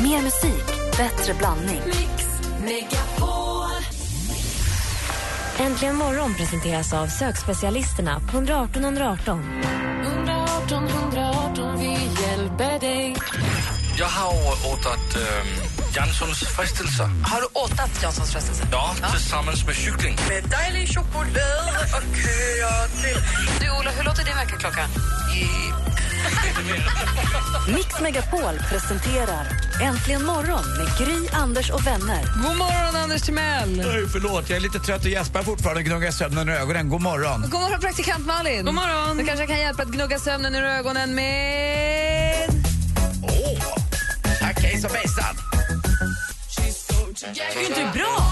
Mer musik, bättre blandning. Mix Megapol. Äntligen morgon presenteras av sökspecialisterna på 118 118. 118 118, vi hjälper dig. Jag har åtat ähm, Janssons frestelse. Har du åtat Janssons frestelse? Ja, tillsammans med kyckling. Med dejlig choklad och kreativ. Du, Ola, hur låter din väckarklocka? Mix Megapol presenterar Äntligen morgon med Gry, Anders och vänner. God morgon, Anders Timell! Oj, förlåt, jag är lite trött och gäspar fortfarande. Gnuggar sömnen ur ögonen. God morgon. God morgon, praktikant Malin! God morgon. Du kanske kan hjälpa att gnugga sömnen ur ögonen med... Åh! Okej, så fejsan. Det är ju inte bra!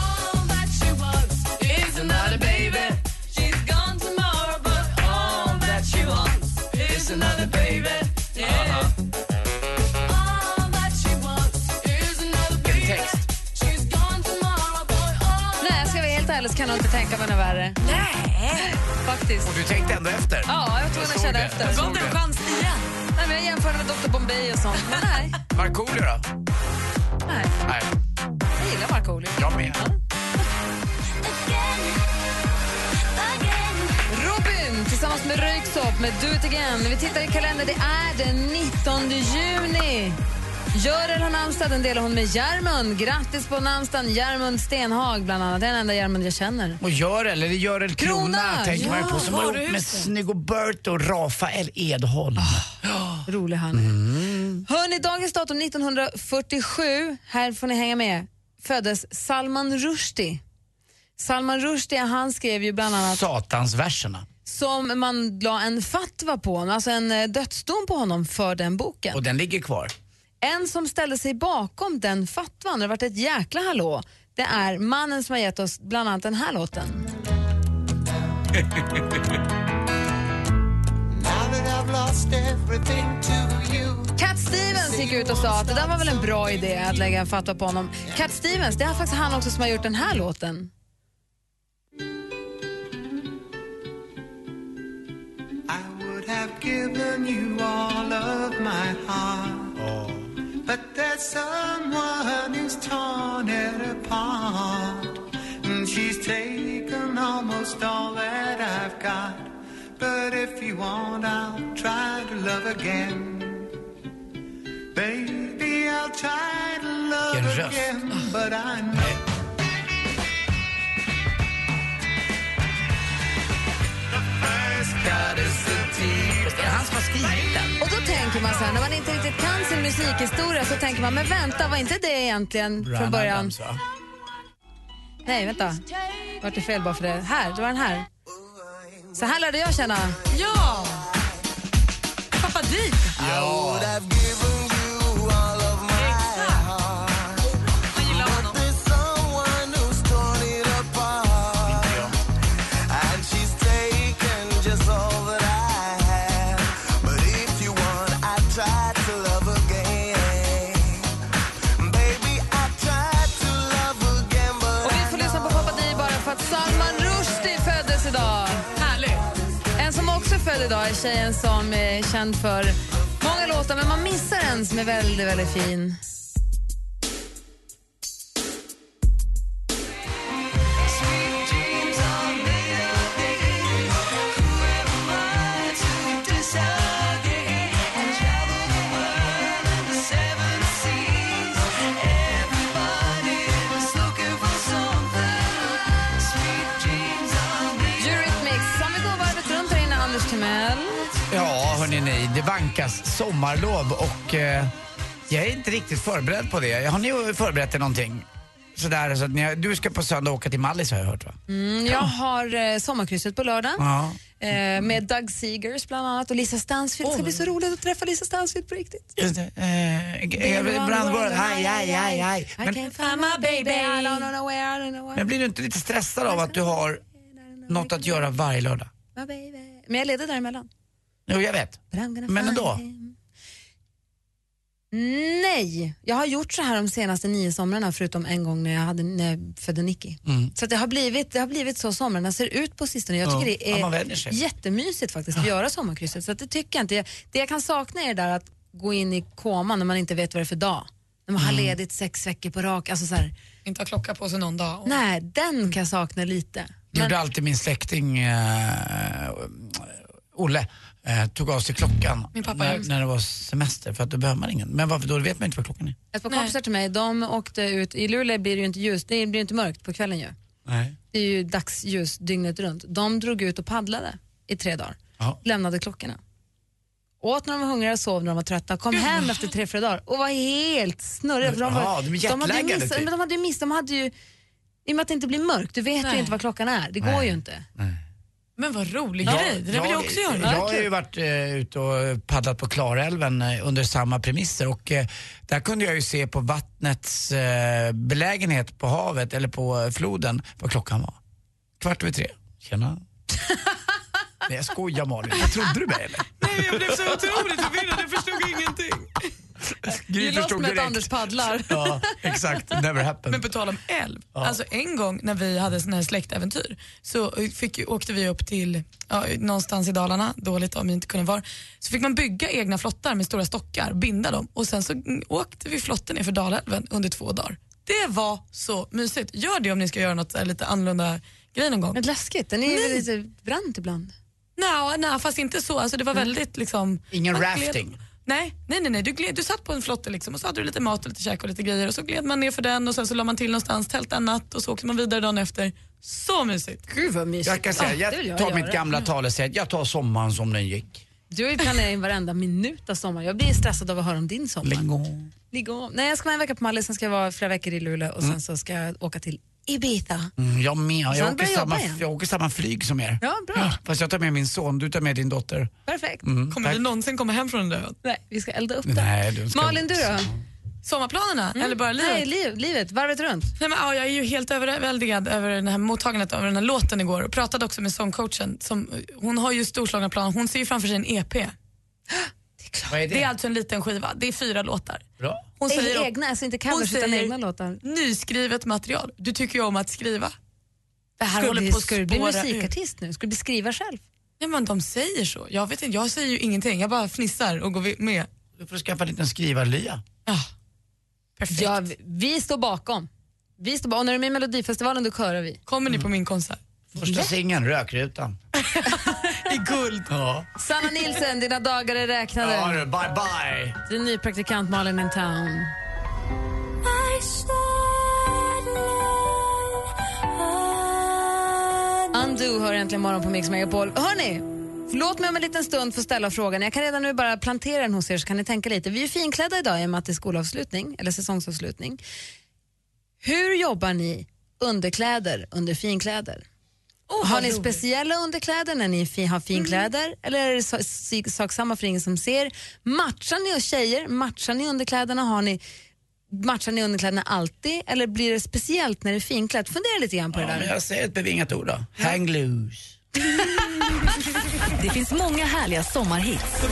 Nej, ska jag vara helt ärlig så kan jag inte tänka mig något värre. Nej! Faktiskt. Och du tänkte ändå efter? Ja, jag var tvungen att känna efter. Jag Gav såg det en det. chans igen. Nej, men jag jämförde med Dr Bombay och sånt, men nej. Markoolio då? nej. Nej, Jag gillar Markoolio. jag med. Robin tillsammans med Röyksopp med Do It Again. Vi tittar i kalendern, det är den 19 juni. Görel har namnsdag, den delar hon med Järmund. Grattis på namnsdagen, Järmund Stenhag bland annat. Det är den enda Järmund jag känner. Och Görel, eller Görel Krona, Krona, tänker man ju ja, på, som har ihop med Snygg och Bert och Rafael Edholm. Ah. Rolig han är. Mm. Hörrni, dagens datum 1947, här får ni hänga med, föddes Salman Rushdie. Salman Rushdie, han skrev ju bland annat Satansverserna. som man la en fatwa på, alltså en eh, dödsdom på honom för den boken. Och den ligger kvar. En som ställde sig bakom den fatwan, det har varit ett jäkla hallå, det är mannen som har gett oss bland annat den här låten. Cat Stevens gick ut och sa att det där var väl en bra idé att lägga en fatwa på honom. Cat Stevens, det är faktiskt han också som har gjort den här låten. Vilken röst. Det är han som har skrivit den. Och då tänker man så här, när man inte riktigt kan sin musikhistoria så tänker man, men vänta, var inte det egentligen från Bryan början? Adams, va? Nej, vänta. Vart det fel bara för det? Här, det var den här. Så här lärde jag känna. Ja! Pappa Dick. Man gillar honom. Och vi får lyssna på Pappa Di bara för att Salman Rushdie föddes idag. Härligt. En som också är född idag är tjejen som är känd för många låtar men man missar en som är väldigt, väldigt fin. Eurythmics som vi går varvet runt här inne, Anders Timell. Ja, hörni ni, det vankas sommarlov och eh, jag är inte riktigt förberedd på det. Har ni förberett er någonting? Sådär, så att ni, du ska på söndag åka till Mallis har jag hört va? Mm, jag har eh, sommarkrysset på lördag. Ja. Eh, med Doug Seegers bland annat och Lisa Stansfield. Det ska bli så roligt att träffa Lisa Stansfield på riktigt. Just det. Eh, Brandborg, aj, aj, aj, aj. I Men, can't find my baby, I don't know where, I don't know where. men blir du inte lite stressad av att du har något att göra varje lördag? My baby. Men jag leder däremellan. Jo, jag vet. But I'm gonna Men find ändå. him. Nej, jag har gjort så här de senaste nio somrarna förutom en gång när jag, hade, när jag födde Nicky. Mm. Så att det, har blivit, det har blivit så somrarna ser ut på sistone. Jag Ja. tycker det Ja, är man vänjer sig. jättemysigt faktiskt att göra sommarkrysset. Så att det tycker jag inte. Jag- Det jag kan sakna är det där att gå in i koma när man inte vet vad det är för dag. när man har Mm. ledigt sex veckor på rak. Alltså så här, Inte ha klocka på sig någon dag. Och nej, den kan jag sakna lite. Men, Gjorde alltid min släkting eh, Olle. Eh, tog av sig klockan Min pappa gör när, också. när det var semester för att då behöver man ingen. Men varför då? vet man inte vad klockan är. ett par Nej. kompisar till mig, de åkte ut, i Luleå blir det ju inte ljus, det blir ju inte mörkt på kvällen ju. Nej. Det är ju dagsljus dygnet runt. De drog ut och paddlade i tre dagar. Ja. Lämnade klockorna. Åt när de var hungriga, sov när de var trötta, kom hem efter tre, fyra dagar och var helt snurriga. För de, var, Ja, de är hade ju jetlaggade, missat, typ. men de hade ju missat, de hade ju, i och med att det inte blir mörkt, du vet ju Nej. inte vad klockan är, det går ju inte. Men vad rolig grej, det där vill jag också göra. Jag har ju varit eh, ute och paddlat på Klarälven eh, under samma premisser och eh, där kunde jag ju se på vattnets eh, belägenhet på havet eller på eh, floden vad klockan var. Kvart över tre. Tjena. Nej jag skojar Malin, jag trodde du mig eller? Nej, jag blev så otroligt förvirrad, jag förstod ingenting. Gry lost med att Anders paddlar. Ja, exakt. Never Men happened. på tal om älv, alltså en gång när vi hade sån här släktäventyr så fick, åkte vi upp till ja, någonstans i Dalarna, dåligt om vi inte kunde vara, så fick man bygga egna flottar med stora stockar, binda dem och sen så mm, åkte vi flotten ner för Dalälven under två dagar. Det var så mysigt. Gör det om ni ska göra något så här lite annorlunda grej någon gång. Men läskigt, den är ju lite brant ibland. Nej, nej, fast inte så. Alltså, det var väldigt liksom... Ingen man rafting? Gled, nej, nej, nej, nej. Du, gled, du satt på en flotte liksom, och så hade du lite mat och lite käk och lite grejer och så gled man ner för den och sen så la man till någonstans, tält en natt och så åkte man vidare dagen efter. Så mysigt! Gud vad mysigt. Jag kan säga, jag tar mitt gamla talesätt, jag tar sommaren som den gick. Du har ju planerat in varenda minut av sommaren. Jag blir stressad av att höra om din sommar. Lingo. Ligga om. Nej, jag ska vara en vecka på Mallis, sen ska jag vara flera veckor i Luleå och sen så ska jag åka till Ibiza. Mm, jag med, jag Sen åker, börjar jobba samma, igen. jag åker samma flyg som er. Ja, bra. Fast jag tar med min son, du tar med din dotter. Mm, Perfekt. Kommer vi någonsin komma hem från den där ön? Nej, vi ska elda upp det. Nej, du ska- Malin, du då? Sommarplanerna? Eller bara livet? Mm. Nej, Nej. liv, livet, varvet runt. men, ja, jag är ju helt överväldigad över den här mottagandet av den här låten igår och pratade också med sångcoachen. Som, hon har ju storslagna planer. Hon ser ju framför sig en EP. Vad är det? Det är alltså en liten skiva. Det är fyra låtar. Bra. Hon Säger säger egna, alltså inte covers utan egna låtar. nyskrivet material. Du tycker ju om att skriva. Det här Ska du håller bli, på att ska du bli spåra ut. musikartist nu? Ska du bli skriva själv? Nej, men de säger så. Jag vet inte, jag säger ju ingenting. Jag bara fnissar och går vi- med. Ah. Du får skaffa en liten skrivarlya. Ja. Perfekt. Ja, vi, vi står bakom. Vi står bakom. Och när du är med i Melodifestivalen då körar vi. Kommer ni på min konsert? Första singeln, Rökrutan. I guld. Ja. Sanna Nilsen, dina dagar är räknade. ja du, bye bye. Din ny praktikant Malin in town. Undo hör äntligen morgon på Mix Megapol. Hörni, låt mig om en liten stund få ställa frågan. Jag kan redan nu bara plantera den hos er så kan ni tänka lite. Vi är ju finklädda idag i och med att det är skolavslutning, eller säsongsavslutning. Hur jobbar ni underkläder under finkläder? har ni speciella underkläder när ni fi- har finkläder eller är det so- si- sak samma för ingen som ser? Matchar ni och tjejer? Matchar ni underkläderna? Har ni, matchar ni underkläderna alltid eller blir det speciellt när det är finklätt? Fundera lite grann på det Ja, där. men jag säger ett bevingat ord då. Hang loose. Det finns många härliga sommarhits.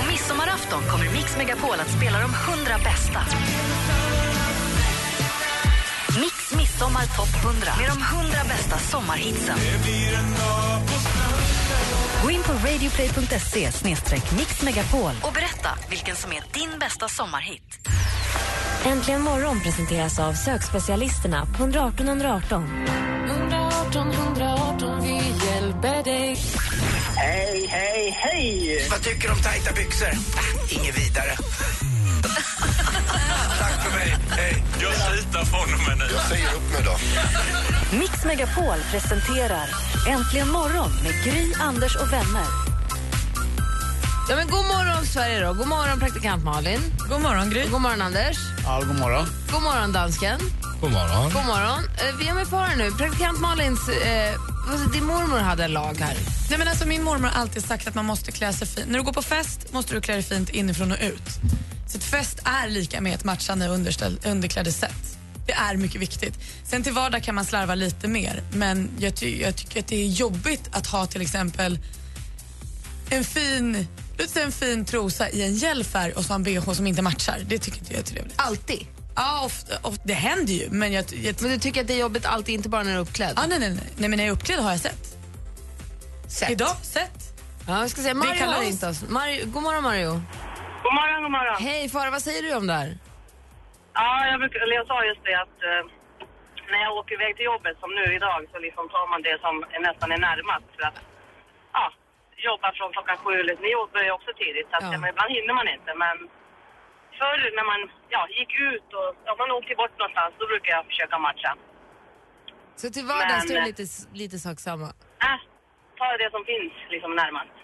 Och midsommarafton kommer Mix Megapol att spela de 100 bästa. Mix Midsommar Topp 100 med de 100 bästa sommarhitsen. Gå in på radioplay.se mixmegapol och berätta vilken som är din bästa sommarhit. Äntligen morgon presenteras av sökspecialisterna på 118 118. 118 118, vi hjälper dig. Vad tycker du om tajta byxor? Ah, Äh, inget vidare. Tack för mig. Hej. Jag slutar från och med nu. Jag säger upp mig då. Mix Megapol presenterar Äntligen morgon med Gry, Anders och vänner. Ja, men god morgon Sverige då. God morgon praktikant Malin. God morgon, Gry. God morgon Anders. Ja, god morgon. God morgon dansken. God morgon. God morgon. Eh, vi är med på här nu. Praktikant Malins, eh, vad- din mormor hade en lag här. Nej, men alltså, min mormor har alltid sagt att man måste klä sig fint. När du går på fest måste du klä dig fint inifrån och ut. Så ett fest är lika med ett matchande underställ- underklädessätt. Det är mycket viktigt. Sen till vardag kan man slarva lite mer men jag, ty- jag tycker att det är jobbigt att ha till exempel en fin, låt säga en fin trosa i en gäll färg och så en bh som inte matchar. Det tycker inte jag är trevligt. Alltid. Ja, ofta, ofta, det händer ju men jag, jag Men du tycker att det är jobbigt alltid, inte bara när du är uppklädd? ah, nej, nej, nej. nej men när jag är uppklädd har jag sett. Sätt. Idag, sett. Ja, jag ska säga, Mario kalas. har ringt oss. Mario, god morgon Mario. God morgon, god morgon. Hej Farah, vad säger du om det här? Ja, jag, brukar, eller jag sa just det att eh, när jag åker iväg till jobbet som nu idag så liksom tar man det som är nästan är närmast för att ja, jobba från klockan sju eller ni jobbar ju också tidigt så att, Ja. ja. men ibland hinner man inte men förr när man ja, gick ut och om man åkte bort någonstans då brukar jag försöka matcha. Så till vardags Men- då är det lite, lite sak samma. Äh, ta det som finns liksom närmast.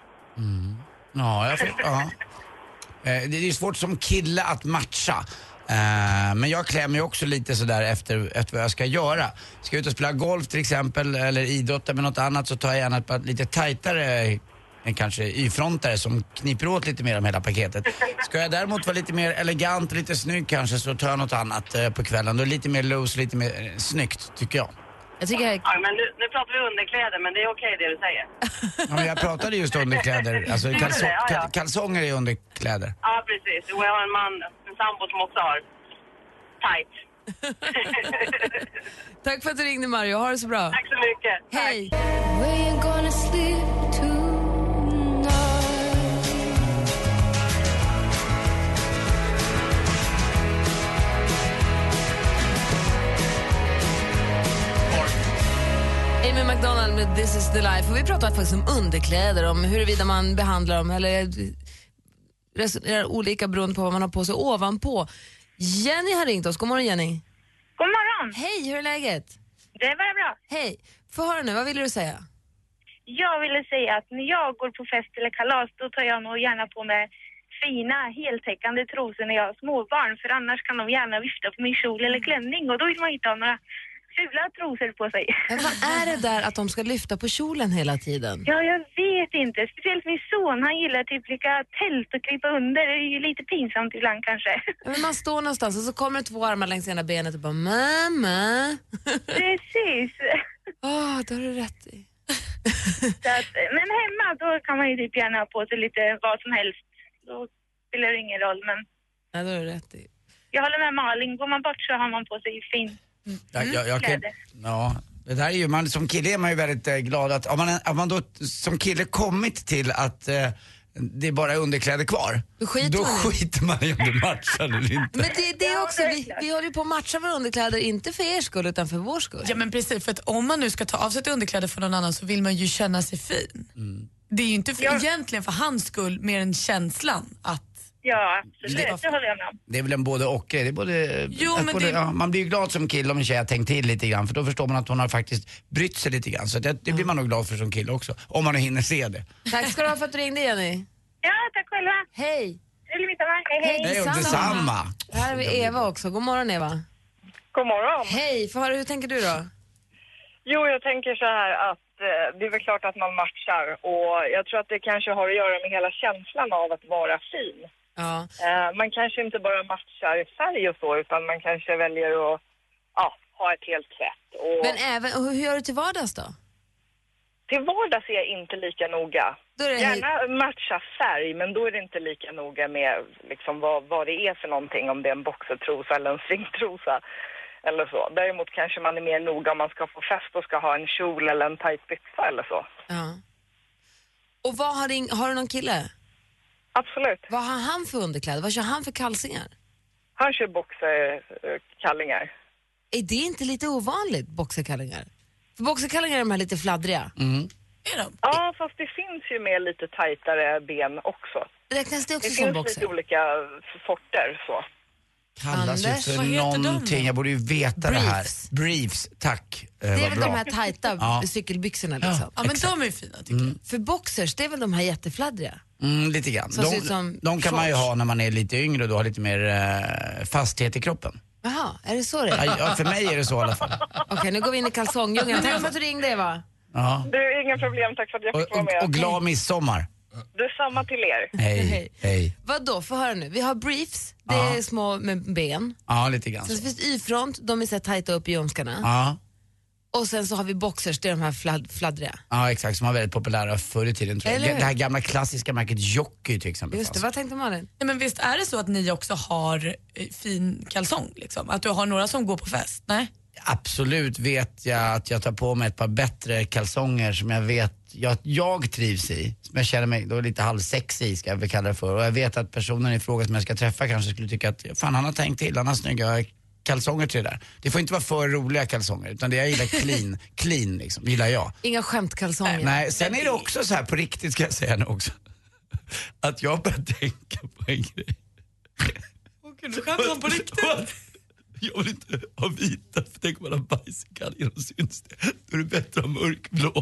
Ja, jag får, ja. Eh, Det är ju svårt som kille att matcha. Eh, Men jag klämmer ju också lite sådär efter, efter vad jag ska göra. Ska jag ut och spela golf till exempel eller idrotta med något annat så tar jag gärna ett par lite tajtare en kanske y-frontare som kniper åt lite mer om hela paketet. Ska jag däremot vara lite mer elegant, lite snygg kanske så tar jag något annat eh, på kvällen. Då är det lite mer loose, lite mer eh, snyggt tycker jag. Jag tycker jag... Ja, men nu, nu pratar vi underkläder men det är okej det du säger. Ja, men jag pratade just underkläder, alltså Gjorde det? kalso- Ja, ja. kal- kalsonger är underkläder. Ja, precis. Och jag har en man, en sambo som också har tight. Tack för att du ringde Mario, ha det så bra. Tack så mycket. Hej! Amy McDonald med This is the life. Och vi pratar faktiskt om underkläder, om huruvida man behandlar dem eller resonerar olika beroende på vad man har på sig ovanpå. Jenny har ringt oss. God morgon Jenny. God morgon! Hej, hur är läget? Det var bra. Hej. Få höra nu, vad ville du säga? Jag ville säga att när jag går på fest eller kalas då tar jag nog gärna på mig fina heltäckande trosor när jag har småbarn för annars kan de gärna vifta på min kjol eller klänning och då vill man inte ha några fula trosor på sig. Men vad är det där att de ska lyfta på kjolen hela tiden? Ja, jag vet inte. Speciellt min son, han gillar typ lika tält och krypa under. Det är ju lite pinsamt ibland kanske. Ja, Men man står någonstans och så kommer det två armar längs ena benet och bara mamma. Precis. Åh, det har du rätt i. Så att, men hemma då kan man ju typ gärna ha på sig lite vad som helst. Då spelar det ingen roll men Ja, det har du rätt i. Jag håller med Malin. Går man bort så har man på sig fin Mm, Jag, jag, jag kan, kläder. ja, det där är ju, man, som kille är man ju väldigt eh, glad att, om man, om man då t- som kille kommit till att eh, det är bara underkläder kvar. Då skiter, man i. skiter man i om det matchar eller inte. Men det, det är också, vi, vi håller ju på att matcha våra underkläder, inte för er skull utan för vår skull. Ja men precis, för att om man nu ska ta av sig ett underkläder för någon annan så vill man ju känna sig fin. Det är ju inte för, egentligen för hans skull mer än känslan att... Ja, absolut. Det håller jag med om. Det är väl en både och grej. Det är både, Jo, att men både, det- ja, man blir ju glad som kille om en tjej har tänkt till lite grann för då förstår man att hon har faktiskt brytt sig lite grann. Så det, det blir man nog glad för som kille också, om man hinner se det. Tack ska du ha för att du ringde Jenny. Ja, tack själva. Hej. Trevlig midsommar. Hej, Hej, och detsamma. Här har vi Eva också. God morgon Eva. God morgon. Hej, för hur tänker du då? Jo, jag tänker så här att eh, det är väl klart att man matchar och jag tror att det kanske har att göra med hela känslan av att vara fin. Ja. Eh, man kanske inte bara matchar i färg och så utan man kanske väljer att ja, ha ett helt sätt. Och Men även, och hur hur gör du till vardags då? Till vardags är jag inte lika noga. Då är det- Gärna matcha färg, men då är det inte lika noga med liksom vad, vad det är för någonting, om det är en boxertrosa eller en stringtrosa. Eller så. Däremot kanske man är mer noga om man ska på fest och ska ha en kjol eller en tajt byxa eller så. Ja. Och vad har, ring, har du någon kille? Absolut. Vad har han för underkläder? Vad kör han för kalsingar? Han kör boxerkallingar. Är det inte lite ovanligt, boxerkallingar? För boxerkallingar är de här lite fladdriga. Ja, fast det finns ju med lite tajtare ben också. Räknas det också det som finns boxer? lite olika sorter så. Kallas ju Anders, vad för heter de någonting, jag borde ju veta det här. Briefs, tack. Eh, Det är vad väl bra. de här tajta Ja. cykelbyxorna liksom? Ja, men de är ju fina. Mm. För boxers, det är väl de här jättefladdriga? Mm, lite grann. Som ser De, ut som de kan man ju shorts. ha när man är lite yngre och då har lite mer eh, fasthet i kroppen. Jaha, är det så det är? Ja, för mig är det så i alla fall. Okej, nu går vi in i kalsongdjungeln. Tack för att du ringde Eva. Ja. Du, inga problem. Tack för att jag Och, fick vara och, med. Mm. och glad midsommar. Detsamma till er. Hej, hej. Vadå, få höra nu. Vi har briefs, det Ja. är små med ben. Ja, lite grann. Sen så finns det Y-front, de är så här tajta upp i ljumskarna. Ja, Och sen så har vi boxers, det är de här fladd, fladdriga. ja, exakt. Som var väldigt populära förr i tiden tror jag. Eller hur? Det här gamla klassiska märket Jockey till exempel. Just fanns. Vad tänkte Malin? Nej, men visst är det så att ni också har eh, fin kalsong? Liksom? Att du har några som går på fest? Nej? Absolut vet jag att jag tar på mig ett par bättre kalsonger som jag vet jag, jag trivs i. Som jag känner mig då lite halvsexig i, ska jag väl kalla det för. Och jag vet att personen i fråga som jag ska träffa kanske skulle tycka att fan han har tänkt till, han har snygga kalsonger till det där. Det får inte vara för roliga kalsonger utan det jag gillar clean, clean liksom, gillar jag. Inga skämtkalsonger. Nej, sen är det också så här på riktigt ska jag säga nu också. Att jag börjar tänka på en grej. Gud, nu skämtar han på riktigt. Jag vill inte ha vita, för tänk om man har bajs i kallingarna och syns det. Då är det bättre att ha mörkblå.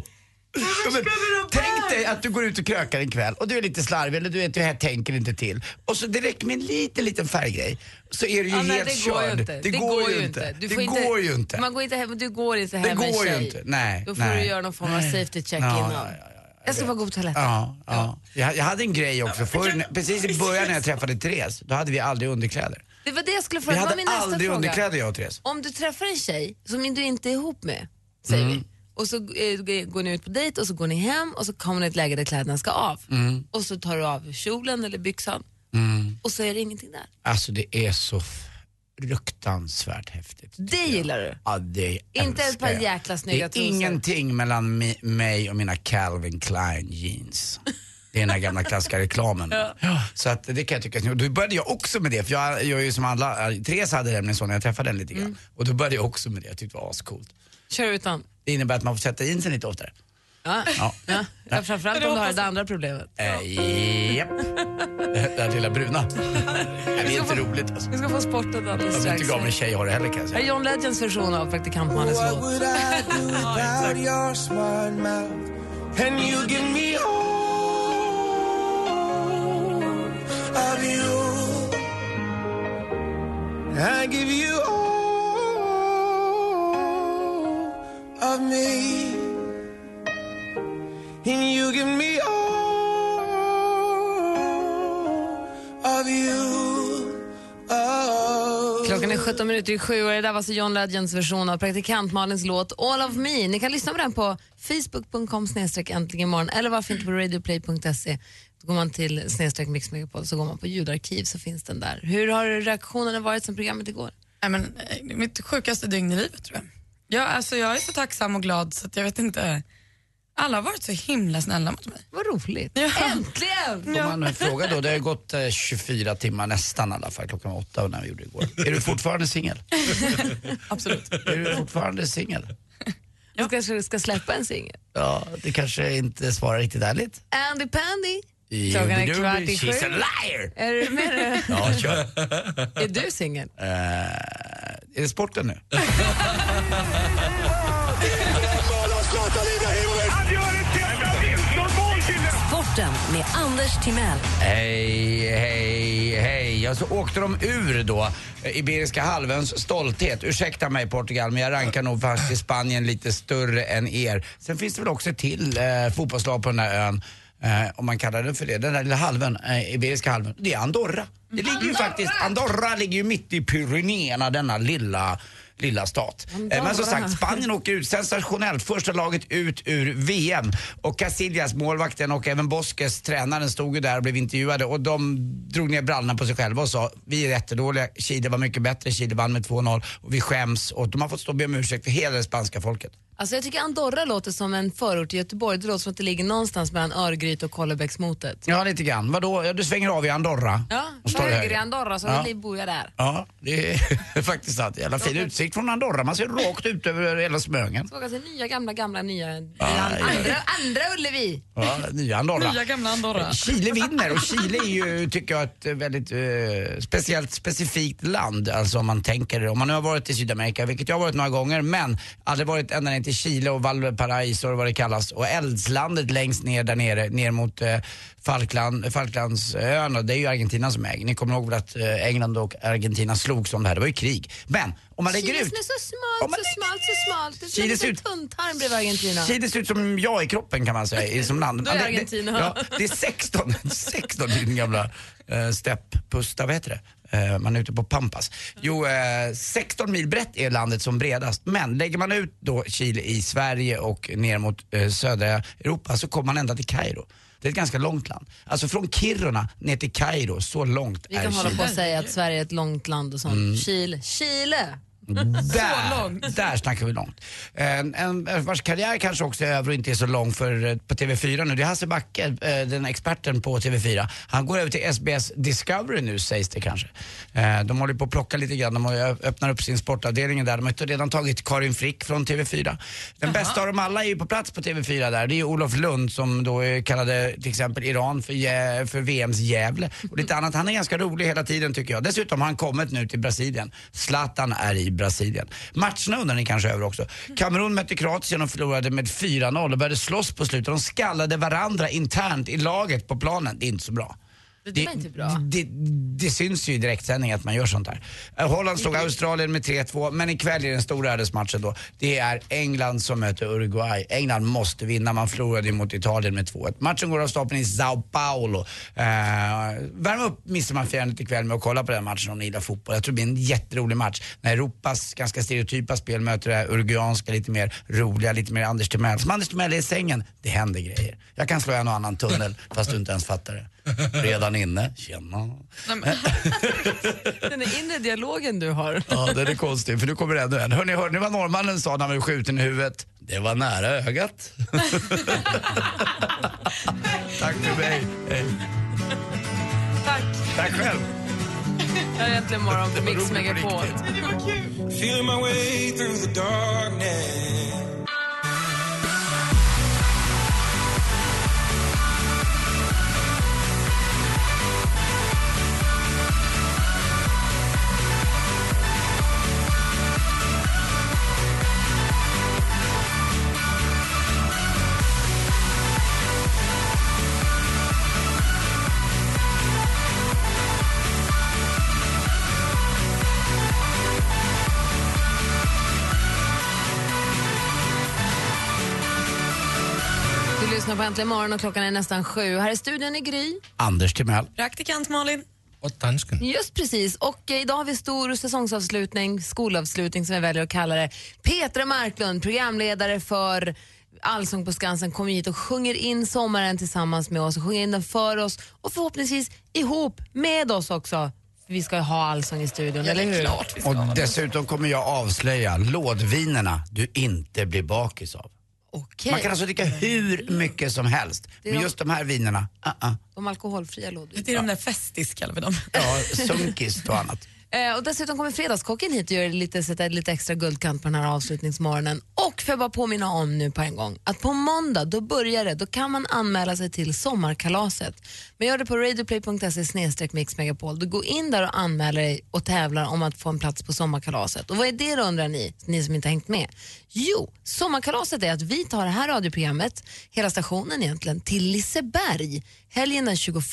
Ja, men, tänk dig att du går ut och krökar en kväll och du är lite slarvig eller du vet, det här tänker inte till. Och så direkt med en liten, liten färggrej så är du ju Ja, helt nej, det går ju körd. inte. Det, går ju inte. Du det får inte- går ju inte. Man går inte hem, du går inte hem Det med en går ju tjej. inte. Nej, Då får nej. du göra någon form av safety check Ja, innan. ja, jag ska bara gå på toaletten. Ja, ja. Jag, jag hade en grej också förr, när- precis i början när jag träffade Therese, då hade vi aldrig underkläder. Det var det jag skulle Vi fråga. Det var hade min nästa aldrig fråga. underkläder jag och Therese. Om du träffar en tjej som du inte är ihop med Mm. och så eh, g- går ni ut på dejt och så går ni hem och så kommer ni i ett läge där kläderna ska av Mm. och så tar du av kjolen eller byxan Mm. och så är det ingenting där. Alltså det är så fruktansvärt häftigt. Det gillar du? Ja, det Inte ens älskar på jag. jäkla snygga Det är ingenting mellan mi- mig och mina Calvin Klein jeans. Det är den här gamla klassiska reklamen. Ja. Så att det kan jag tycka är snyggt. Då började jag också med det, för jag, jag är ju som alla, eh, Therese hade nämligen så när jag träffade henne lite grann. Mm. Och då började jag också med det, jag tyckte det var ascoolt. Kör utan. Det innebär att man får sätta in sig lite oftare. Ja. Ja. Ja. Ja. Framförallt om du har det andra problemet. Eh, Japp. Det här lilla bruna. Nej, Det är inte roligt alltså. Vi ska få sporten Jag alldeles vet strax. inte hur gammal tjej har det heller kan jag Här säga. är John Legends version av praktikant Malins What låt. would I do without your smart mouth? And you give me all of you. I give you all of me. And you give me all of you. Oh. Klockan är 17 minuter i sju och det där var alltså John Legends version av praktikant Malins låt All of me. Ni kan lyssna på den på facebook.com snedstreck äntligen imorgon eller varför inte på radioplay.se. Då går man till snedstreck Mix Megapol så går man på ljudarkiv så finns den där. Hur har reaktionerna varit sen programmet igår? Nej, men, eh, det är mitt sjukaste dygn i livet tror jag. Jag, alltså, jag är så tacksam och glad så att jag vet inte. Alla har varit så himla snälla mot mig. Vad roligt. Får Äntligen! man fråga då? Det har ju gått eh, 24 timmar nästan i alla fall. Klockan var åtta när vi gjorde det igår. Är du fortfarande singel? Absolut. Är du fortfarande singel? Du kanske ska släppa en singel. Ja, det kanske inte svarar riktigt ärligt. Andy Pandy. Klockan är kvart i sju. She's a liar! Är du med? Ja, kör. Är du singel? Eh, är det sporten nu? Sporten med Anders Timell. Hej, hej, hej. Ja, så åkte de ur då, eh, Iberiska halvöns stolthet. Ursäkta mig Portugal, men jag rankar nog faktiskt Spanien lite större än er. Sen finns det väl också ett till eh, fotbollslag på den här ön, eh, om man kallar den för det. Den där lilla halvön, eh, Iberiska halvön, det är Andorra. Det ligger ju faktiskt, Andorra ligger ju mitt i Pyrenéerna, denna lilla lilla stat. Eh, Men som Andorra. sagt, Spanien åker ut sensationellt. Första laget ut ur VM. Och Casillas, målvakten och även Boskes, tränaren, stod ju där och blev intervjuade och de drog ner brallorna på sig själva och sa vi är jättedåliga, Chile var mycket bättre, Chile vann med 2-0 och vi skäms och de har fått stå och be om ursäkt för hela det spanska folket. Alltså jag tycker Andorra låter som en förort till Göteborg. Det låter som att det ligger någonstans mellan Örgryte och Kollebäcksmotet. Ja, lite grann. Vadå? Ja, du svänger av i Andorra. Ja, Och står höger höger. i Andorra så Ja. vill bor jag där. Ja, det är faktiskt sant. Jävla fin utsikt från Andorra. Man ser rakt ut över hela Smögen. Så åka till nya, gamla, gamla, nya... Aj, aj. Andra, andra Ullevi! Ja, nya Andorra. Nya gamla Andorra. Eh, Chile vinner och Chile är ju, tycker jag, ett väldigt eh, speciellt, specifikt land. Alltså om man tänker, om man nu har varit i Sydamerika, vilket jag har varit några gånger, men aldrig varit ända ner till Chile och Valparaiso och vad det kallas. Och eldslandet längst ner där nere, ner mot eh, Falkland, Falklandsöarna, det är ju Argentina som äger. Ni kommer ihåg väl att eh, England och Argentina slogs om det här, det var ju krig. Men om man lägger Chile ut... som är så smalt, så smalt, så smalt. Det Chile är som ser en ut- tunntarm bredvid Argentina. Chile ser ut som jag i kroppen kan man säga, i- som land. Då är Ja, det- Argentina. Det, ja, det är 16, 16 i den gamla eh, stepppusta, vad heter det? Eh, man är ute på Pampas. Jo, eh, 16 mil brett är landet som bredast. Men lägger man ut då Chile i Sverige och ner mot eh, södra Europa så kommer man ända till Kairo. Det är ett ganska långt land. Alltså från Kiruna ner till Kairo, så långt Vi är kan hålla Chile. Mm. på och säga att Sverige är ett långt land och sånt. Chile. Chile! Där, där snackar vi långt. En, en vars karriär kanske också är över och inte är så lång för, eh, på TV4 nu, det är Hasse Backe, eh, den experten på TV4. Han går över till SBS Discovery nu sägs det kanske. Eh, De håller på att plocka lite grann, de har ju ö- öppnar upp sin sportavdelning där. De har ju redan tagit Karin Frick från TV4. Den bästa av dem alla är ju på plats på TV4 där. Det är ju Olof Lund som då eh, kallade till exempel Iran för, Jä- för VMs Gävle och lite annat. Han är ganska rolig hela tiden tycker jag. Dessutom har han kommit nu till Brasilien. Zlatan är i Brasilien. Matcherna undrar ni kanske över också. Kamerun mötte Kroatien och förlorade med 4-0 och började slåss på slutet. De skallade varandra internt i laget på planen. Det är inte så bra. Det där är inte bra. Det, det syns ju i direktsändning att man gör sånt där. Eh, Holland slog Australien med 3-2, men ikväll är den stora ödesmatchen då. Det är England som möter Uruguay. England måste vinna, man förlorade ju mot Italien med 2-1. Matchen går av stapeln i Sao Paulo. Eh, värm upp midsommarfirandet ikväll med att kolla på den matchen om ni gillar fotboll. Jag tror det blir en jätterolig match när Europas ganska stereotypa spel möter det här uruguanska, lite mer roliga, lite mer Anders Timell. Som Anders Timell är i sängen, det händer grejer. Jag kan slå en och annan tunnel fast du inte ens fattar det. Redan inne, tjena. Den där inre dialogen du har. Ja, den är konstig, för nu kommer ännu en. Hörni, hörde ni vad norrmannen sa när han blev skjuten i huvudet? Det var nära ögat. Tack för mig. Hej. Tack. Tack själv. Det här är äntligen morgon på Mix Megapol. Feel my way through the darkness. Du lyssnar på Äntligen morgon och klockan är nästan sju. Här i studion är Gry. Anders Timell. Praktikant Malin. Och dansken. Just precis. Och eh, idag har vi stor säsongsavslutning, skolavslutning som jag väljer att kalla det. Petra Marklund, programledare för Allsång på Skansen, kommer hit och sjunger in sommaren tillsammans med oss, och sjunger in den för oss och förhoppningsvis ihop med oss också. För Vi ska ju ha allsång i studion, eller hur? Och dessutom kommer jag avslöja lådvinerna du inte blir bakis av. Okej. Man kan alltså dricka hur mycket som helst, Det är men de- just de här vinerna, uh-uh. De alkoholfria lådorna. Det är de där festis kallar vi dem. ja, sunkis och annat. Eh, och dessutom kommer Fredagskocken hit och gör lite, sätter lite extra guldkant på den här avslutningsmorgonen. Och får jag bara påminna om nu på en gång att på måndag, då börjar det, då kan man anmäla sig till sommarkalaset. Men gör det på radioplay.se snedstreck mixmegapol. Du går in där och anmäler dig och tävlar om att få en plats på sommarkalaset. Och vad är det då undrar ni, ni som inte har hängt med? Jo, sommarkalaset är att vi tar det här radioprogrammet, hela stationen egentligen, till Liseberg helgen den 21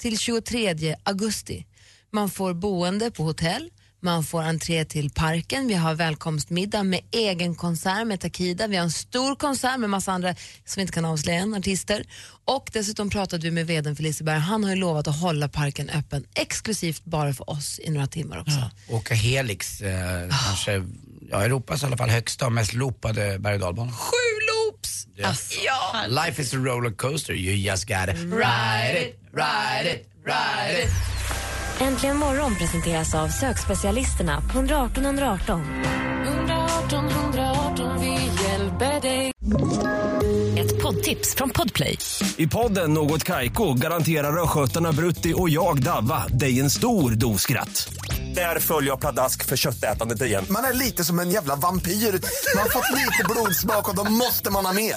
till 23 augusti. Man får boende på hotell, man får entré till parken, vi har välkomstmiddag med egen konsert med Takida, vi har en stor konsert med massa andra som vi inte kan avslöja än, artister. Och dessutom pratade vi med vdn för Liseberg, han har ju lovat att hålla parken öppen exklusivt bara för oss i några timmar också. Åka Helix, eh, kanske ja, Europas i alla fall högsta och mest loopade berg och dalbana. Sju loops! Ja. Life is a rollercoaster, you just gotta ride it, ride it, ride it. Äntligen morgon presenteras av sökspecialisterna på 118 118. 118 118 vi hjälper dig. Ett poddtips från Podplay. I podden Något Kaiko garanterar östgötarna Brutti och jag, Davva, dig en stor dos skratt. Där följer jag pladask för köttätandet igen. Man är lite som en jävla vampyr. Man har fått lite blodsmak och då måste man ha mer.